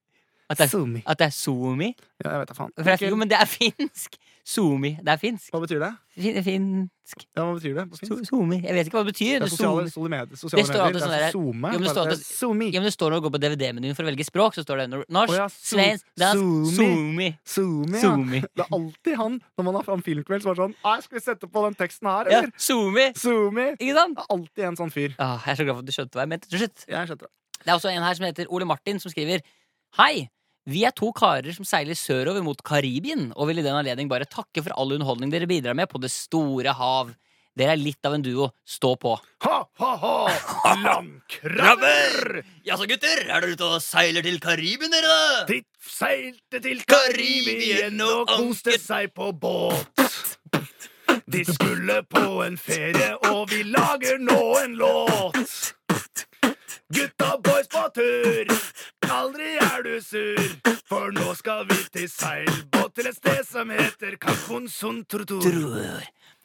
At det er, Sumi. at det er sumi? Ja, jeg vet da faen. For det er, jo, men det er finsk! Sumi. Det er finsk. Hva betyr det? Fin, finsk. Ja, hva betyr det på finsk? So- Sumi. Jeg vet ikke hva det betyr. Det er Det sosiale, sumi. sosiale medier. Sosiale Det står medier. alltid Det sånn er der- SoMe. Jo, men det står alltid- Somi. Ja, men det står når du går på DVD-menyen for å velge språk, så står det nor- norsk, Å ja, su- svensk, dansk, sumi. sumi. Somi, ja. Sumi. Det er alltid han når man har fram filmkveld som er sånn Nei, skal vi sette på den teksten her, Ja, eller? sumi. Somi. Ikke sant? Det er alltid en sånn fyr. Ah, jeg er så glad for at du skjønte hva jeg mente til slutt. Jeg skjønte det. Det er også en her som heter Ole Martin, som skriver Hei! Vi er to karer som seiler sørover mot Karibien, og vil i den anledning bare takke for all underholdning dere bidrar med på det store hav. Dere er litt av en duo. Stå på. Ha, ha, ha! Landkrabber! Ja så, gutter, er dere ute og seiler til Karibien, dere, da? De seilte til Karibien og koste seg på båt. De skulle på en ferie, og vi lager nå en låt. Gutta boys på tur, aldri er du sur. For nå skal vi til seilbåt til et sted som heter Kakonsunturtur. Bror.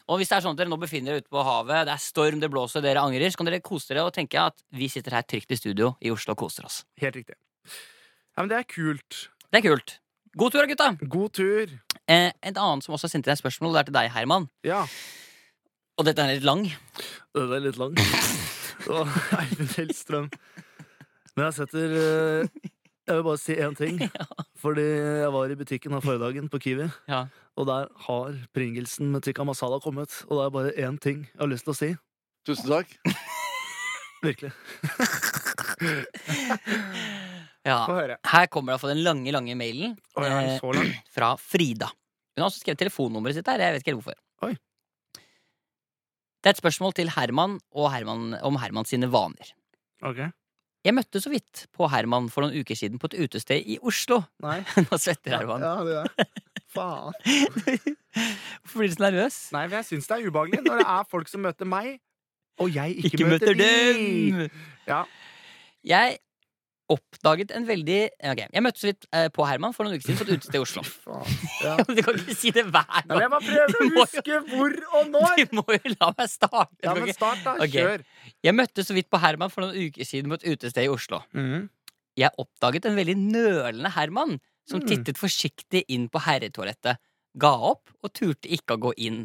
Og hvis det er sånn at dere nå befinner dere ute på havet, det er storm, det blåser, dere angrer, så kan dere kose dere og tenke at vi sitter her trygt i studio i Oslo og koser oss. Helt riktig. Ja, men det er kult. Det er kult. God tur, da, gutta! God tur. Eh, et annet som også har sendt inn et spørsmål, det er til deg, Herman. Ja. Og dette er litt lang. Den er litt lang. Og Eivind Hellstrøm. Men jeg setter eh, Jeg vil bare si én ting. Fordi jeg var i butikken her forrige dagen, på Kiwi, Ja. og der har Pringelsen med tikka masala kommet. Og det er bare én ting jeg har lyst til å si. Tusen takk. Virkelig. Ja. høre. Her kommer det fra den lange, lange mailen eh, så lang. fra Frida. Hun har også skrevet telefonnummeret sitt her. Jeg vet ikke helt hvorfor. Oi. Det er et spørsmål til Herman, og Herman om Herman sine vaner. Ok. Jeg møtte så vidt på Herman for noen uker siden på et utested i Oslo. Nei. Nå svetter Herman. Ja, det er. Faen. Hvorfor blir du så nervøs? Nei, men jeg syns det er ubehagelig når det er folk som møter meg, og jeg ikke, Ikke møter dem! Ja. Jeg oppdaget en veldig Ok, jeg møtte så vidt eh, på Herman for noen uker siden på et utested i Oslo. Faen. Ja. du kan ikke si det hver Nei, men gang! jeg bare prøver å huske hvor og når! Du må jo la meg starte. Ja, Du kan men ikke- start, da. Ok. Kjør. Jeg møtte så vidt på Herman for noen uker siden på et utested i Oslo. Jeg oppdaget en veldig nølende Herman som Mm. tittet forsiktig inn på herretoalettet, ga opp og turte ikke å gå inn.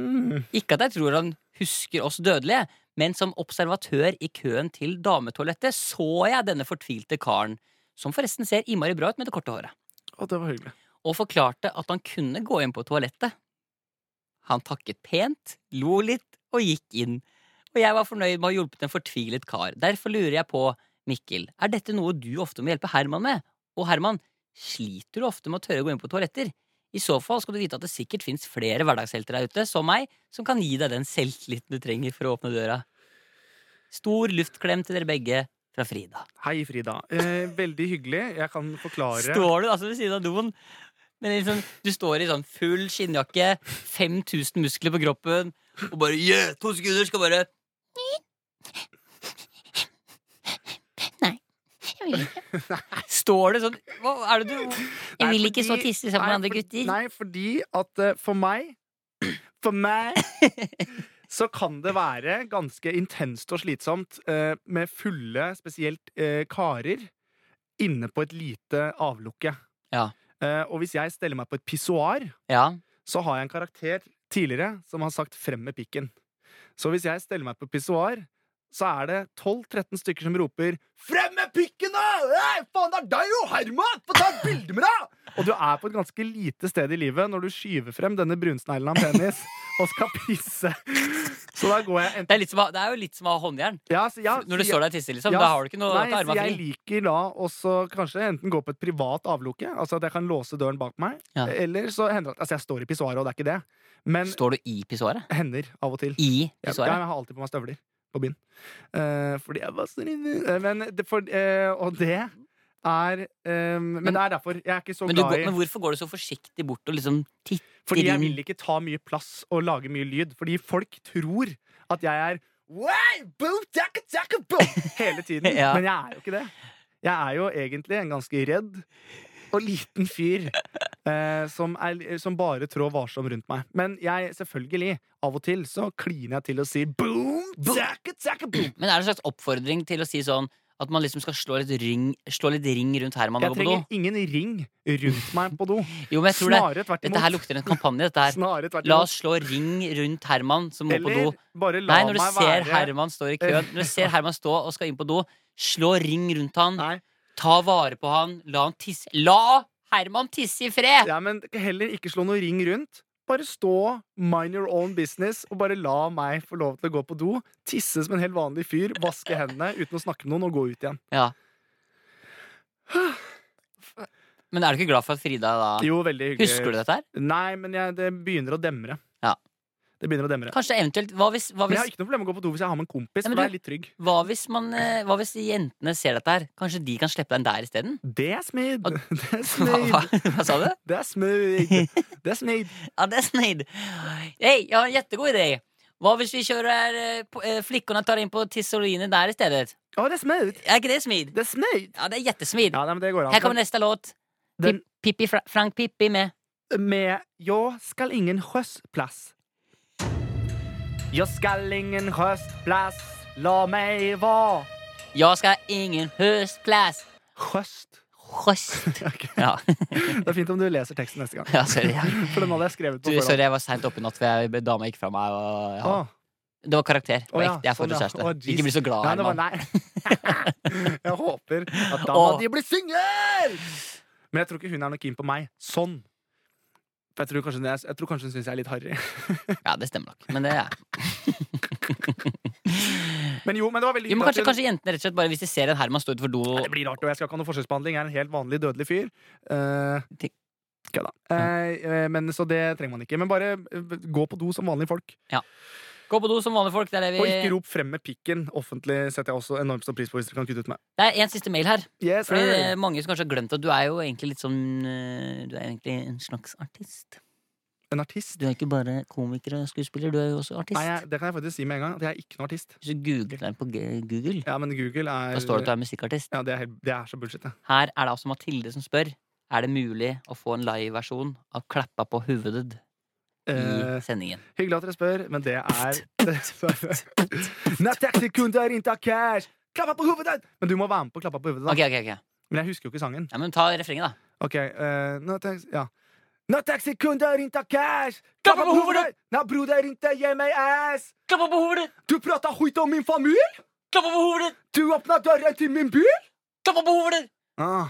Mm. Ikke at jeg tror han husker oss dødelige, men som observatør i køen til dametoalettet så jeg denne fortvilte karen som forresten ser innmari bra ut med det korte håret, Å, det var hyggelig. og forklarte at han kunne gå inn på toalettet. Han takket pent, lo litt og gikk inn, og jeg var fornøyd med å ha hjulpet en fortvilet kar. Derfor lurer jeg på, Mikkel, er dette noe du ofte må hjelpe Herman med? Og Herman, sliter du ofte med å tørre å gå inn på toaletter? I så fall skal du vite at det sikkert fins flere hverdagshelter der ute, som meg, som kan gi deg den selvtilliten du trenger for å åpne døra. Stor luftklem til dere begge fra Frida. Hei, Frida. Eh, veldig hyggelig. Jeg kan forklare Står du altså ved siden av doen men liksom, Du står i sånn full skinnjakke 5000 muskler på kroppen Og bare, yeah, to sekunder skal bare Nei, jeg vil ikke. Står du sånn, hva er det du Jeg Nei, vil ikke så fordi- tisse sammen med Nei, andre for- gutter. Nei, fordi at eh, for meg For meg så kan det være ganske intenst og slitsomt eh, med fulle, spesielt eh, karer, inne på et lite avlukke. Ja. Eh, og hvis jeg steller meg på et pissoar, Ja, så har jeg en karakter tidligere som har sagt 'frem med pikken'. Så hvis jeg steller meg på pissoar, så er det 12-13 stykker som roper 'Frem med pikken, da! Hei, faen, det er deg jo, Herman! Få ta et bilde med deg!' Og du er på et ganske lite sted i livet når du skyver frem denne brunsneglen av en penis og skal pisse. Så da går jeg enten det er, litt som, å- det er jo litt som å ha håndjern ja, så, ja, Når du så står jeg- der og tisser liksom, ja, da har du ikke noe Nei, til så armene jeg fri liker da også kanskje enten gå på et privat avlukke, altså at jeg kan låse døren bak meg, Ja. eller så hender det at Altså, jeg står i pissoaret, og det er ikke det, men Står du i pissoaret? hender av og til. I Jeg, jeg pissoaret? har alltid på meg støvler på byen. Eh, fordi jeg var så inne. Eh, Men det, for, eh, og det er eh, Men det er derfor. Jeg er ikke så Men, du, glad går- i men hvorfor går du så forsiktig bort og liksom titter? Fordi jeg inn- vil ikke ta mye plass og lage mye lyd. Fordi folk tror at jeg er Wow, boo, takka, takka, boo, hele tiden. Ja. Men jeg er jo ikke det. Jeg er jo egentlig en ganske redd og liten fyr eh, som, er, som bare trår varsom rundt meg. Men jeg, selvfølgelig, av og til så kliner jeg til og sier boom, takka, takka, boom. Men er det en slags oppfordring til å si sånn At man liksom skal slå litt ring, slå litt ring rundt Herman Jeg og på do? trenger ingen ring rundt meg på do. Jo, men jeg tror det, Snarere tvert dette her imot. lukter en kampanje dette her Snarere tvert La imot. oss slå ring rundt Herman som må på do. Eller bare la Nei, når du meg ser være Herman stå i køen Når du ser Herman stå og skal inn på do, slå ring rundt han. Nei, Ta vare på han. La han tisse. La Herman tisse i fred! ja, men heller ikke slå noe ring rundt. Bare stå, mind your own business, og bare la meg få lov til å gå på do. Tisse som en helt vanlig fyr, vaske hendene uten å snakke med noen, og gå ut igjen. Ja. Men er du ikke glad for at Frida da Jo, veldig hyggelig. Husker du dette her? Nei, men jeg, det begynner å demre. Ja. Det begynner å demre. Kanskje eventuelt Hva hvis, hva Men jeg har hvis, ikke noe problem med å gå på do hvis jeg har med en kompis, Ja, men for da du- er jeg litt trygg. hva hvis, man, eh, hva hvis jentene ser dette her? Kanskje de kan slippe deg inn der isteden? Det er smid! Det er Hva, smid! hva, hva sa du? Det er smid! Det er smid! Ja, det er snill. Hei, jeg har en jättegod idé. Hva hvis vi kjører eh, på- eh, flickorna tar inn på Tissolini der i stedet? Å, det er smid! Er ikke det smid? Det er smid! Ja, det er jättesmid. Ja, nei, men det går an. Her kommer neste låt. Den- Pip, Pippi Fra Frank Pippi med med 'Jag skal ingen sjösplass'. Jag skal ingen sjösplass, la meg vara. Jeg skal ingen høstplass. Sjöst. Høst. Ja. Det er fint om du leser teksten neste gang. ja, sorry. Ja. For den hadde jeg skrevet på Du, forhånd. sorry, jeg var seint oppe i natt, for jeg, dama gikk fra meg. Og, ja. Åh, Det var karakter. Det Å, var ja, ekte. Jeg får sånn, ja. kjæreste. Å, jeez. Ikke bli så glad, Nei, det var Herman. nei. jeg håper at da Åh. må de bli singel! Men jeg tror ikke hun er noe keen på meg. Sånn. For jeg tror kanskje, jeg tror kanskje hun syns jeg er litt harry. Ja, det stemmer nok. Men det er Men jo, men det var veldig jo, men hyggelig kanskje, at hun- kanskje jentene rett og slett bare hvis de ser en Herman stå utenfor do Nei, Det blir rart, og jeg skal ikke ha noe forskjellsbehandling. Jeg er en helt vanlig dødelig fyr. Eh, Ting. Kødda. Eh, eh, men, så det trenger man ikke. Men bare eh, gå på do som vanlige folk. Gå på do som vanlige folk. Det er det Og ikke vi rop 'frem med pikken' offentlig. setter jeg også enormt stor pris på hvis dere kan kutte ut meg. Det er en siste mail her. Yes, Fordi det sir. er mange som kanskje har glemt at du er jo egentlig litt sånn eh, Du er egentlig en slags artist. En artist? Du er ikke bare komiker og skuespiller, du er jo også artist. Nei, jeg, det kan jeg faktisk si med en gang. At jeg er ikke noen artist. Hvis du googler deg på G- Google, Ja, men Google er da står det at du er musikkartist. ja, det, er, helt- det er så bullshit, det. Her er det altså Mathilde som spør. Er det mulig å få en liveversjon av Klappa på hovedet i Eh, sendingen? hyggelig at dere spør, men det er När taxikunder inte har cash, klappa på huvudet! Men du må være med på klappa på hovedet. Da. Ok, ok, ok. Men jeg husker jo ikke sangen. Ja, men ta refrenget, da. Ok, uh, no thanks, ja. No thanks, sekunder, inte cash! Klappa på huvudet! När broder inte ger mig ass! Klappa på hovedet! Du pratar skit om min familj! Klappa på hovedet! Du öppnar dörren till min bil! Klappa på hovedet! Ah,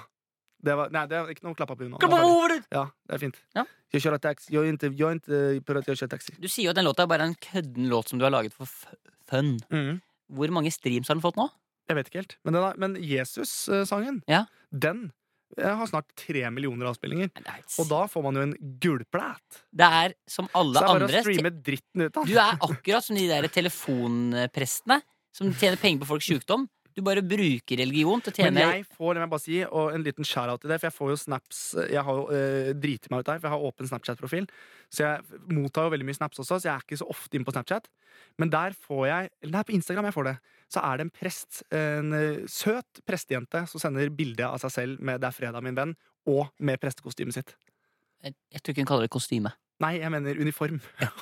det var, nej, det var inte någon klappa på huvudet. Klappa på hovedet! Ja, det är fint. Ja. Jag kör taxi. Jag är inte, eh, jag är inte på att jag kör taxi. Du sier jo at den låta er bare en kødden låt som du har laget for f- fun. Mm. Hvor mange streams har den fått nå? Jeg vet ikke helt. Men, den er- men Jesus-sangen, Ja. den eh, har snart tre millioner avspillinger. Nei, det er helt Og da får man jo en gulplät. Det er som Så alle det er bare andre å streame dritten ut av Du er akkurat som de der telefonprestene som tjener penger på folks sjukdom. Du bare bruker religion til å Men tjene jeg får, det må jeg bare si, og en liten shout-out til det, for jeg får jo snaps Jeg har jo eh, driti meg ut der, for jeg har åpen Snapchat-profil. Så jeg mottar jo veldig mye snaps også, så jeg er ikke så ofte inne på Snapchat. Men der får jeg Eller nei, på Instagram jeg får det. Så er det en prest, en eh, søt prestejente, som sender bilde av seg selv med 'Det er fredag, min venn', og med prestekostymet sitt. Jeg, jeg tror ikke hun kaller det kostyme. Nei, jeg mener uniform.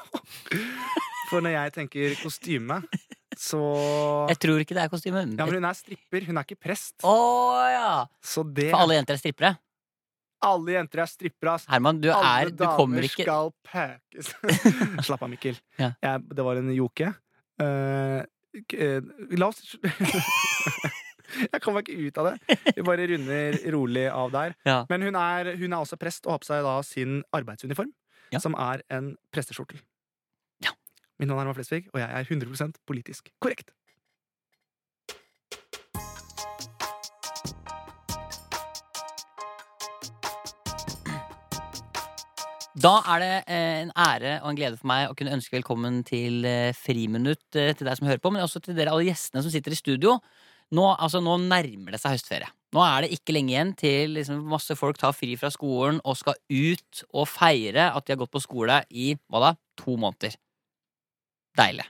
for når jeg tenker kostyme, så Jeg tror ikke det er kostyme. Ja, men hun er stripper, hun er ikke prest. Å ja! Så det For alle jenter er strippere. Alle jenter er strippere, ass. Herman, du Alle er Du kommer damer ikke skal pakkes. Slapp av, Mikkel. Ja. Jeg, det var en joke. Eh, k- eh, la oss Jeg kommer ikke ut av det. Vi bare runder rolig av der. Ja. Men hun er, hun er også prest og har på seg da sin arbeidsuniform, Ja. som er en presteskjortel. Ja. Mitt navn er Herman Flesvig, og jeg er 100 politisk korrekt. Da er det eh, en ære og en glede for meg å kunne ønske velkommen til eh, Friminutt eh, til deg som hører på, men også til dere alle gjestene som sitter i studio. Nå, altså, nå nærmer det seg høstferie. Nå er det ikke lenge igjen til liksom, masse folk tar fri fra skolen og skal ut og feire at de har gått på skole i hva da, to måneder. Deilig.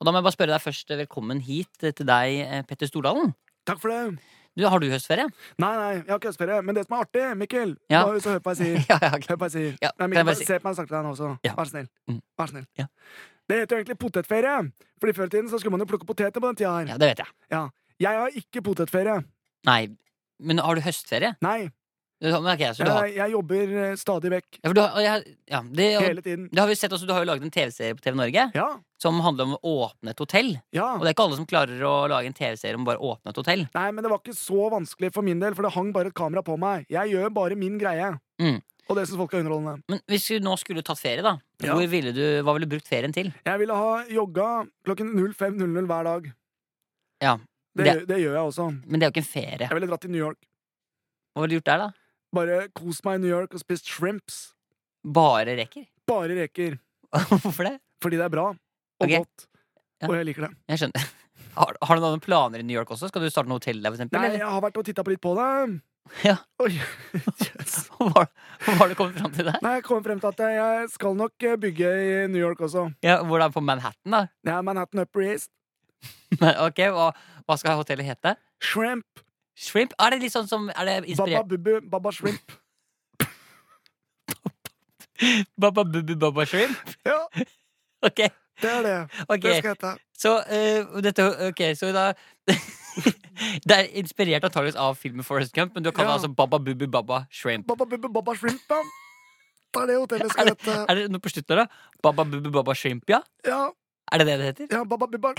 Og da må jeg bare spørre deg først eh, velkommen hit eh, til deg, eh, Petter Stordalen. Takk for det! Du, har du høstferie? Nei, nei, jeg har ikke høstferie, men det som er artig, Mikkel Ja. Nå, så hør på hva jeg sier. ja, ja, ok. Hør på hva jeg sier. Ja, Nei, kan Mikkel, jeg bare bare si- Se på meg sakte her nå også. Ja. Vær så snill. Mm. Vær så snill. Ja. Det heter jo egentlig potetferie, Fordi før i tiden så skulle man jo plukke poteter på den tida her. ja, det vet jeg. Jeg har ikke potetferie. Nei, men har du høstferie? Nei. Ja, men ok, så du har... Jeg, jeg jobber eh, stadig vekk. Ja, for du har, og jeg- ja, det, Hele tiden. Det har vi jo sett også, Du har jo laget en TV-serie på TV Norge Ja. som handler om å åpne et hotell. Ja. Og det er ikke alle som klarer å lage en TV-serie om bare å åpne et hotell. Nei, men det var ikke så vanskelig for min del, for det hang bare et kamera på meg. Jeg gjør bare min greie. Mm. Og det syns folk er underholdende. Men hvis du nå skulle tatt ferie, da, Ja. hvor ville du, hva ville du brukt ferien til? Jeg ville ha jogga klokken 05.00 hver dag. Ja, Det, det- gjør- det gjør jeg også. Men det er jo ikke en ferie. Jeg ville dratt til New York. Hva ville du gjort der, da? Bare kost meg i New York og spist shrimps. Bare reker? Bare reker. Hvorfor det? Fordi det er bra og Ok. godt. Ja. Og jeg liker det. Jeg skjønner. Har, har du noen planer i New York også? Skal du starte noe hotell der, for eksempel? Nei, eller? jeg har vært og titta litt på det. Ja. Oi, yes. Hva har- hva har du kommet fram til der? Nei, jeg kom frem til at jeg skal nok eh, bygge i New York også. Ja, hvor da? På Manhattan, da? Det er Manhattan Upper East. Men, ok, hva, hva skal hotellet hete? Shrimp. Shrimp? Er det litt sånn som Er det Baba inspirert Bubu. Baba Shrimp. Baba Bubu Baba Shrimp? Ja, Ok. det er det. ok Det skal jeg hete. Så eh, dette Ok, så da Det er inspirert antageligvis av filmen Forest Gump, men du kaller det Ja. altså Baba Bubu Baba Shrimp. Baba Bubu. Baba Shrimp, ja. Det er det hotellet skal Er hete. Er det noe på slutten der, da? Baba Bubu Baba Shrimp, ja? Ja, Er det det det heter? ja, Baba Buba.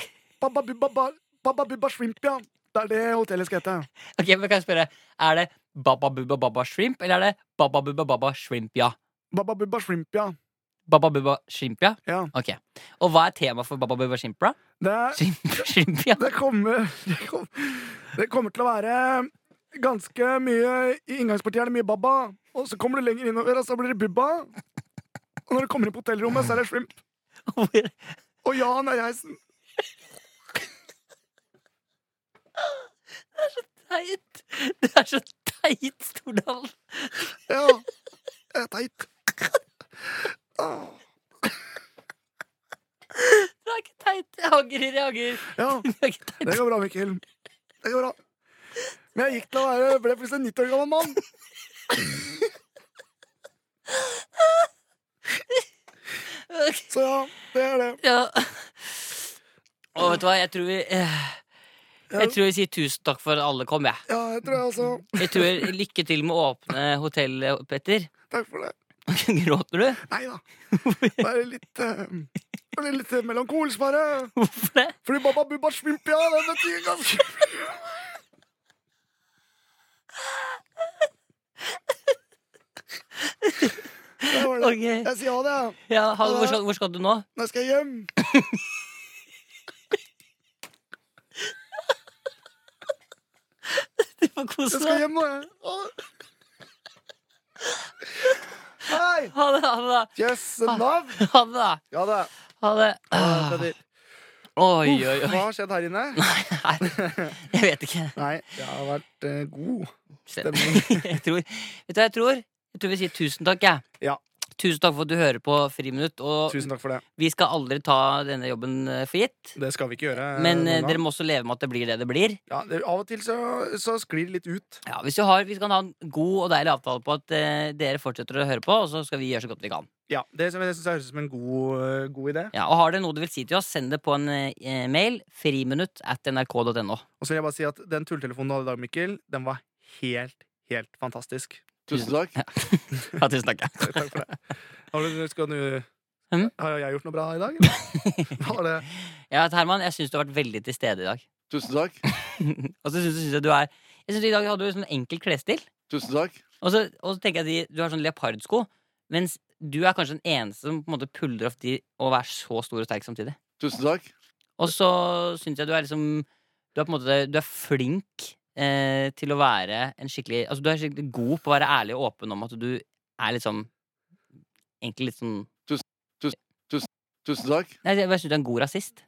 Baba Buba. Ba- Baba Buba Shrimp, ja. Det er det hotellet skal hete. Ok, men kan jeg spørre Er det Baba Buba Baba Shrimp, eller er det Baba Buba Baba Shrimp, ja? Baba Buba Shrimp, ja. Baba Buba Shrimp, ja? ja. Ok. Og hva er temaet for Baba Buba Shrimp, da? Det er Shrimp, shrimp ja. Det kommer, det, kom, det kommer til å være ganske mye I inngangspartiet er det mye babba, og så kommer du lenger innover, og så blir det bubba. Og når du kommer inn på hotellrommet, så er det shrimp. Hvor- Og Jan er heisen. Teit! Det er så teit, Stordalen. Ja, det er teit. Ah, Åh, Det er ikke teit. Jeg angrer, jeg angrer. Ja, Det er ikke teit. det går bra, Mikkel. Det går bra. Men jeg gikk til å være ble plutselig en 90 år gammel mann. Ok. Så ja, det er det. Ja. Og vet du hva, jeg tror vi eh, Jeg tror vi sier tusen takk for at alle kom, jeg. Ja, jeg tror jeg også. Jeg tror Lykke til med å åpne hotellet, Petter. Takk for det. Gråter du? Nei da. Bare litt eh, Bare litt eh, melankolsk, bare. Hvorfor det? Fordi Baba altså. Bubba Svimp, ja, det betyr ganske Ok. Jeg sier ha det, jeg. Ja, ha, hvor, skal, hvor skal du nå? Nå skal jeg hjem. Du får kose Jeg skal deg. hjem nå, jeg. Å. Hei! Ha det, ha det, Yes, Ah. nav. da. Ha det, da. Ja da. Ha det. Ja, Petter. Ah. Oi, oi, Uff, oi. Hva har skjedd her inne? Nei, jeg vet ikke. Nei, det har vært eh, god. Stemning. jeg tror, vet du hva jeg tror? Jeg tror vi sier tusen takk, jeg. Ja. Tusen takk for at du hører på Friminutt. Og Tusen takk for det. vi skal aldri ta denne jobben eh, for gitt. Det skal vi ikke gjøre. eh, Men eh, noen gang. dere må også leve med at det blir det det blir. ja, det, Av og til så, så sklir det litt ut. Ja, hvis du har, Vi skal ha en god og deilig avtale på at eh, dere fortsetter å høre på, og så skal vi gjøre så godt vi kan. Ja, Det, det syns jeg høres ut som en god, eh, god idé. Ja, og Har dere noe du vil si til oss, send det på en eh, mail. Friminutt at nrk.no. Og så vil jeg bare si at den tulletelefonen du hadde i dag, Mikkel, den var helt, helt fantastisk. Tusen takk. Ja, tusen takk. ja. Takk for det. Har du, skal du Mm. Har jeg gjort noe bra i dag? eller? Har det? Ja, Herman, jeg syns du har vært veldig til stede i dag. Tusen takk. og så syns jeg du er Jeg synes I dag hadde du sånn enkel klesstil. Tusen takk. Og så, og så tenker jeg at de, du har sånn leopardsko, mens du er kanskje den eneste som på en måte puller off de å være så stor og sterk samtidig. Tusen takk. Og så syns jeg du er liksom Du er på en måte Du er flink eh, til å være en skikkelig Altså du er skikkelig god på å være ærlig og åpen om at du er liksom Egentlig litt sånn Tusen takk. Nei, jeg bare syns du er en god rasist.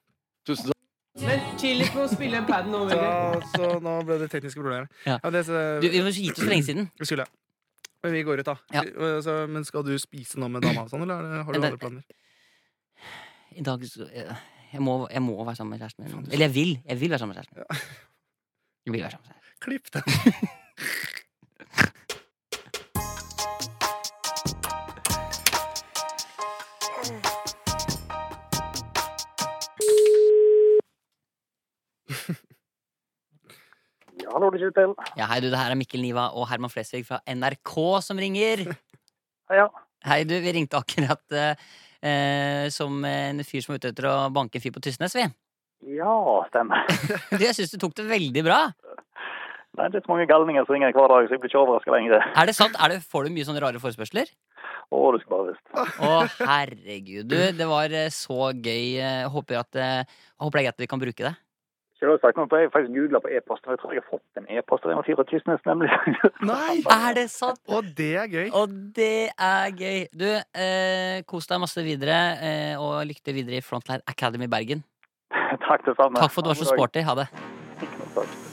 Tusen takk. Men chill litt med å spille paden nå, Så, veldig. så nå ble det tekniske problemer. Ja. men det, så- Du, vi var gitt oss for lenge siden. Det skulle jeg. Men vi går ut, da. Ja. Eh, Så, men skal du spise nå med dama og sånn, eller er det, har du Nei, andre planer? I dag så, jeg, jeg, må, jeg må være sammen med kjæresten min. Eller jeg vil. Jeg vil være sammen med kjæresten min. Jeg vil være sammen med kjæresten. Klipp den! Ja, hallo, det kjenner til. Ja, hei du, det her er Mikkel Niva og Herman Flesvig fra NRK som ringer. Ja, ja. Hei du, vi ringte akkurat eh, eh, som en fyr som var ute etter å banke en fyr på Tysnes, vi. Ja, stemmer. Du, jeg syns du tok det veldig bra. Det er litt mange galninger som ringer hver dag, så jeg blir ikke overraska lenger. Er det sant? Er det, får du mye sånne rare forespørsler? Å, du skal bare visst. Å, herregud, du. Det var eh, så gøy. Jeg håper, at, eh, jeg håper det er greit at vi kan bruke det. Selvsagt. Nå har jeg faktisk googla på e-post, og jeg tror jeg har fått en e-post av en fyr fra Tysnes, nemlig. Nei! Er det sant? Og det er gøy! Og det er gøy. Du, eh, kos deg masse videre, eh, og lykke til videre i Frontline Academy Bergen. Takk, det samme. Takk for at du var så God dag. sporty. Ha det. Takk.